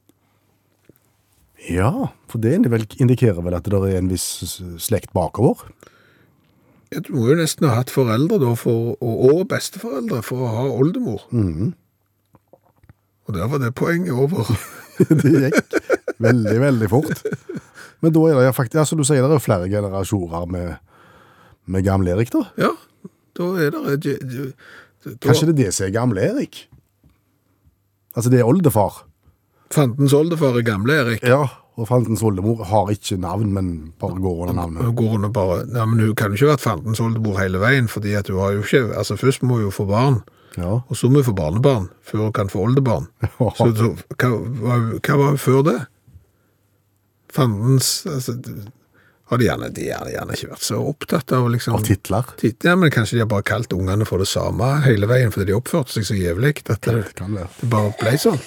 Ja, for det vel- indikerer vel at det er en viss s- slekt bakover. Ja, Du må jo nesten ha hatt foreldre da, for, og, og besteforeldre for å ha oldemor. Og der var det poenget over. det gikk veldig, veldig fort. Men da er det faktisk, ja, som du sier, det er jo flere generasjoner med, med gamle Erik, da. ja, da er det eh, d- d- da, Kanskje det er det som er gamle Erik? Altså, det er oldefar. Fandens oldefar er gamle Erik. Ja. Og fantens oldemor har ikke navn, men bare går under navnet. Hun går hun og bare Nei, men hun kan jo ikke ha vært fandens oldemor hele veien, fordi at hun har jo ikke Altså, først må hun jo få barn, Ja. og så må hun få barnebarn, før hun kan få oldebarn. Så, så hva, var hun- hva var hun før det? Fandens altså, d- har de, gjerne, de har gjerne ikke vært så opptatt av liksom Av titler. Titt- Ja, men kanskje de har bare kalt ungene for det samme hele veien, fordi de oppførte seg så jævlig at det, Kan det. det bare ble sånn.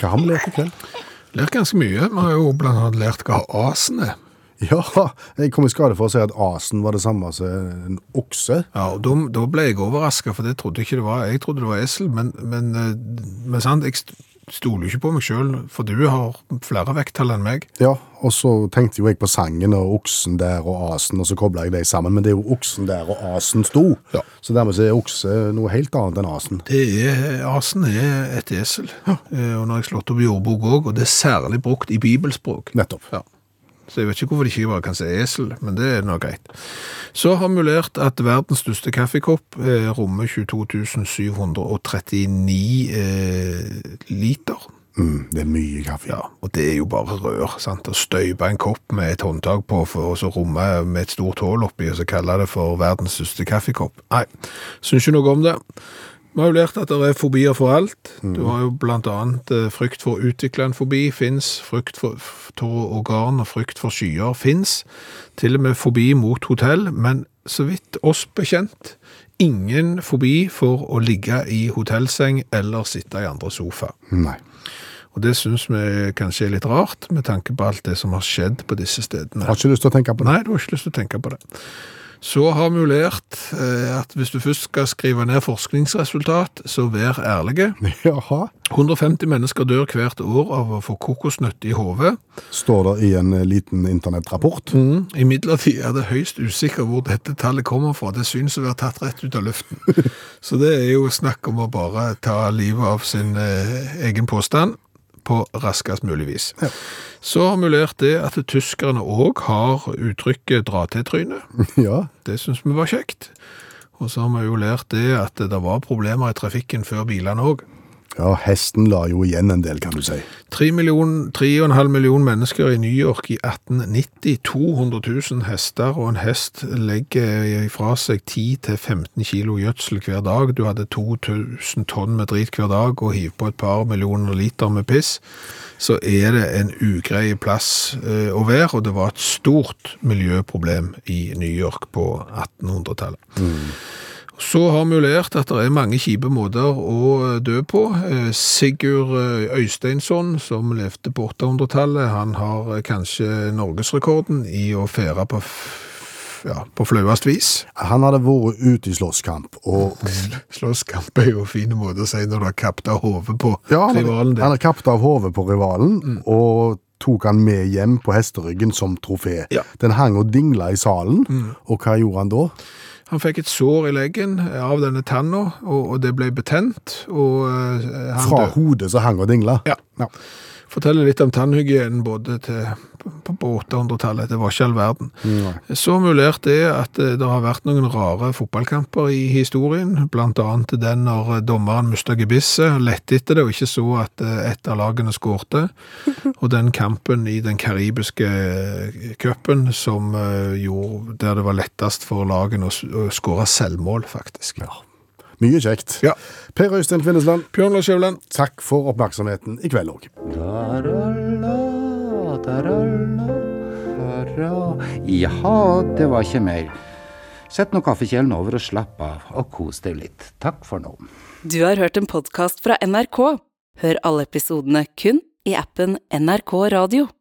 Hva har vi lært i kveld? Lært ganske mye. Vi har jo blant annet lært hva asen er. Ja, jeg kom i skade for å si at asen var det samme som en okse. Ja, og da, da ble jeg overraska, for det trodde jeg ikke det var. Jeg trodde det var esel, men, men, eh, men sant, jeg st- stoler jo ikke på meg sjøl, for du har flere vekttall enn meg. Ja, og så tenkte jo jeg på sangen og oksen der og asen, og så kobla jeg de sammen, men det er jo oksen der og asen sto. Ja. Så dermed så er okse noe helt annet enn asen. Det er, Asen er et esel, Eh, og når jeg slått opp i ordbok òg, og det er særlig brukt i bibelspråk. Nettopp. Ja. Så jeg vet ikke hvorfor de ikke bare kan si esel, men det er nå greit. Så har vi lært at verdens største kaffekopp eh, rommer 22 739 eh, liter. Mm, det er mye kaffe. Ja, og det er jo bare rør, sant? Å støype en kopp med et håndtak på, for, og så romme med et stort hål oppi, og så kalle det for verdens største kaffekopp. Nei, syns ikke noe om det. Vi har jo lært at det er fobier for alt. Du har jo blant annet eh, frykt for å utvikle en fobi, fins. Frykt for f- for organ og frykt for skyer fins. Til og med fobi mot hotell, men så vidt oss bekjent, ingen fobi for å ligge i hotellseng eller sitte i andre sofa. Nei. Og det syns vi kanskje er litt rart, med tanke på alt det som har skjedd på disse stedene. Har ikke lyst til å tenke på det. Nei, du har ikke lyst til å tenke på det. Så har vi jo lært eh, at hvis du først skal skrive ned forskningsresultat, så vær ærlige. Jaha. 150 mennesker dør hvert år av å få kokosnøtt i hodet. Står det i en eh, liten internettrapport. Mm. Imidlertid er det høyst usikker hvor dette tallet kommer fra. Det synes å være tatt rett ut av luften. Så det er jo snakk om å bare ta livet av sin eh, egen påstand på raskest mulig vis. Så har vi lært det at tyskerne òg har uttrykket 'dra til trynet'. Ja. Det syns vi var kjekt. Og så har vi jo lært det at det var problemer i trafikken før bilene òg. ja, hesten la jo igjen en del, kan du si. 3,5 million, tre og en halv million mennesker i New York i 1890, 200 000 hester, og en hest legger fra seg 10-15 kilo gjødsel hver dag. Du hadde 2000 tonn med drit hver dag, og hiv på et par millioner liter med piss, så er det en ugrei plass eh, å være, og det var et stort miljøproblem i New York på 1800-tallet. Så har vi jo lært at det er mange kjipe måter å dø på. Eh, Sigurd eh, Øysteinsson, som levde på 800-tallet, han har eh, kanskje norgesrekorden i å fære på, f- ja, på flauest vis. Han hadde vært ute i slåsskamp, og Slåsskamp er jo en fin måte å si når du har kappet av hodet på ja, han rivalen Mm. hadde, din. han hadde kappet av hodet på rivalen, og tok han med hjem på hesteryggen som trofé. Ja. Mm. Den hang og dingla i salen, og hva gjorde han da? Han fikk et sår i leggen eh, av denne tanna, og, og det ble betent. Og eh, han Fra døde. hodet så hang og dingla. Ja. forteller litt om tannhygienen både til, på, på 800-tallet. Det var ikke all verden. Så mulert det at eh, det har vært noen rare fotballkamper i historien, blant annet den når eh, dommeren mistet gebisset, lette etter det og ikke så at eh, et av lagene skårte. Og den kampen i den karibiske eh, cupen som eh, gjorde der det var lettest for lagene å s- å skåre selvmål, faktisk. Ja. Mye kjekt. Ja. Per Øystein Kvindesland, Bjørn Lars Skjæveland. takk for oppmerksomheten i kveld òg. Taralla, taralla, taralla. Jaha, det var ikke mer. Sett nå kaffekjelen over og slapp av, og kos deg litt. Takk for nå. Du har hørt en podkast fra NRK. Hør alle episodene kun i appen NRK Radio.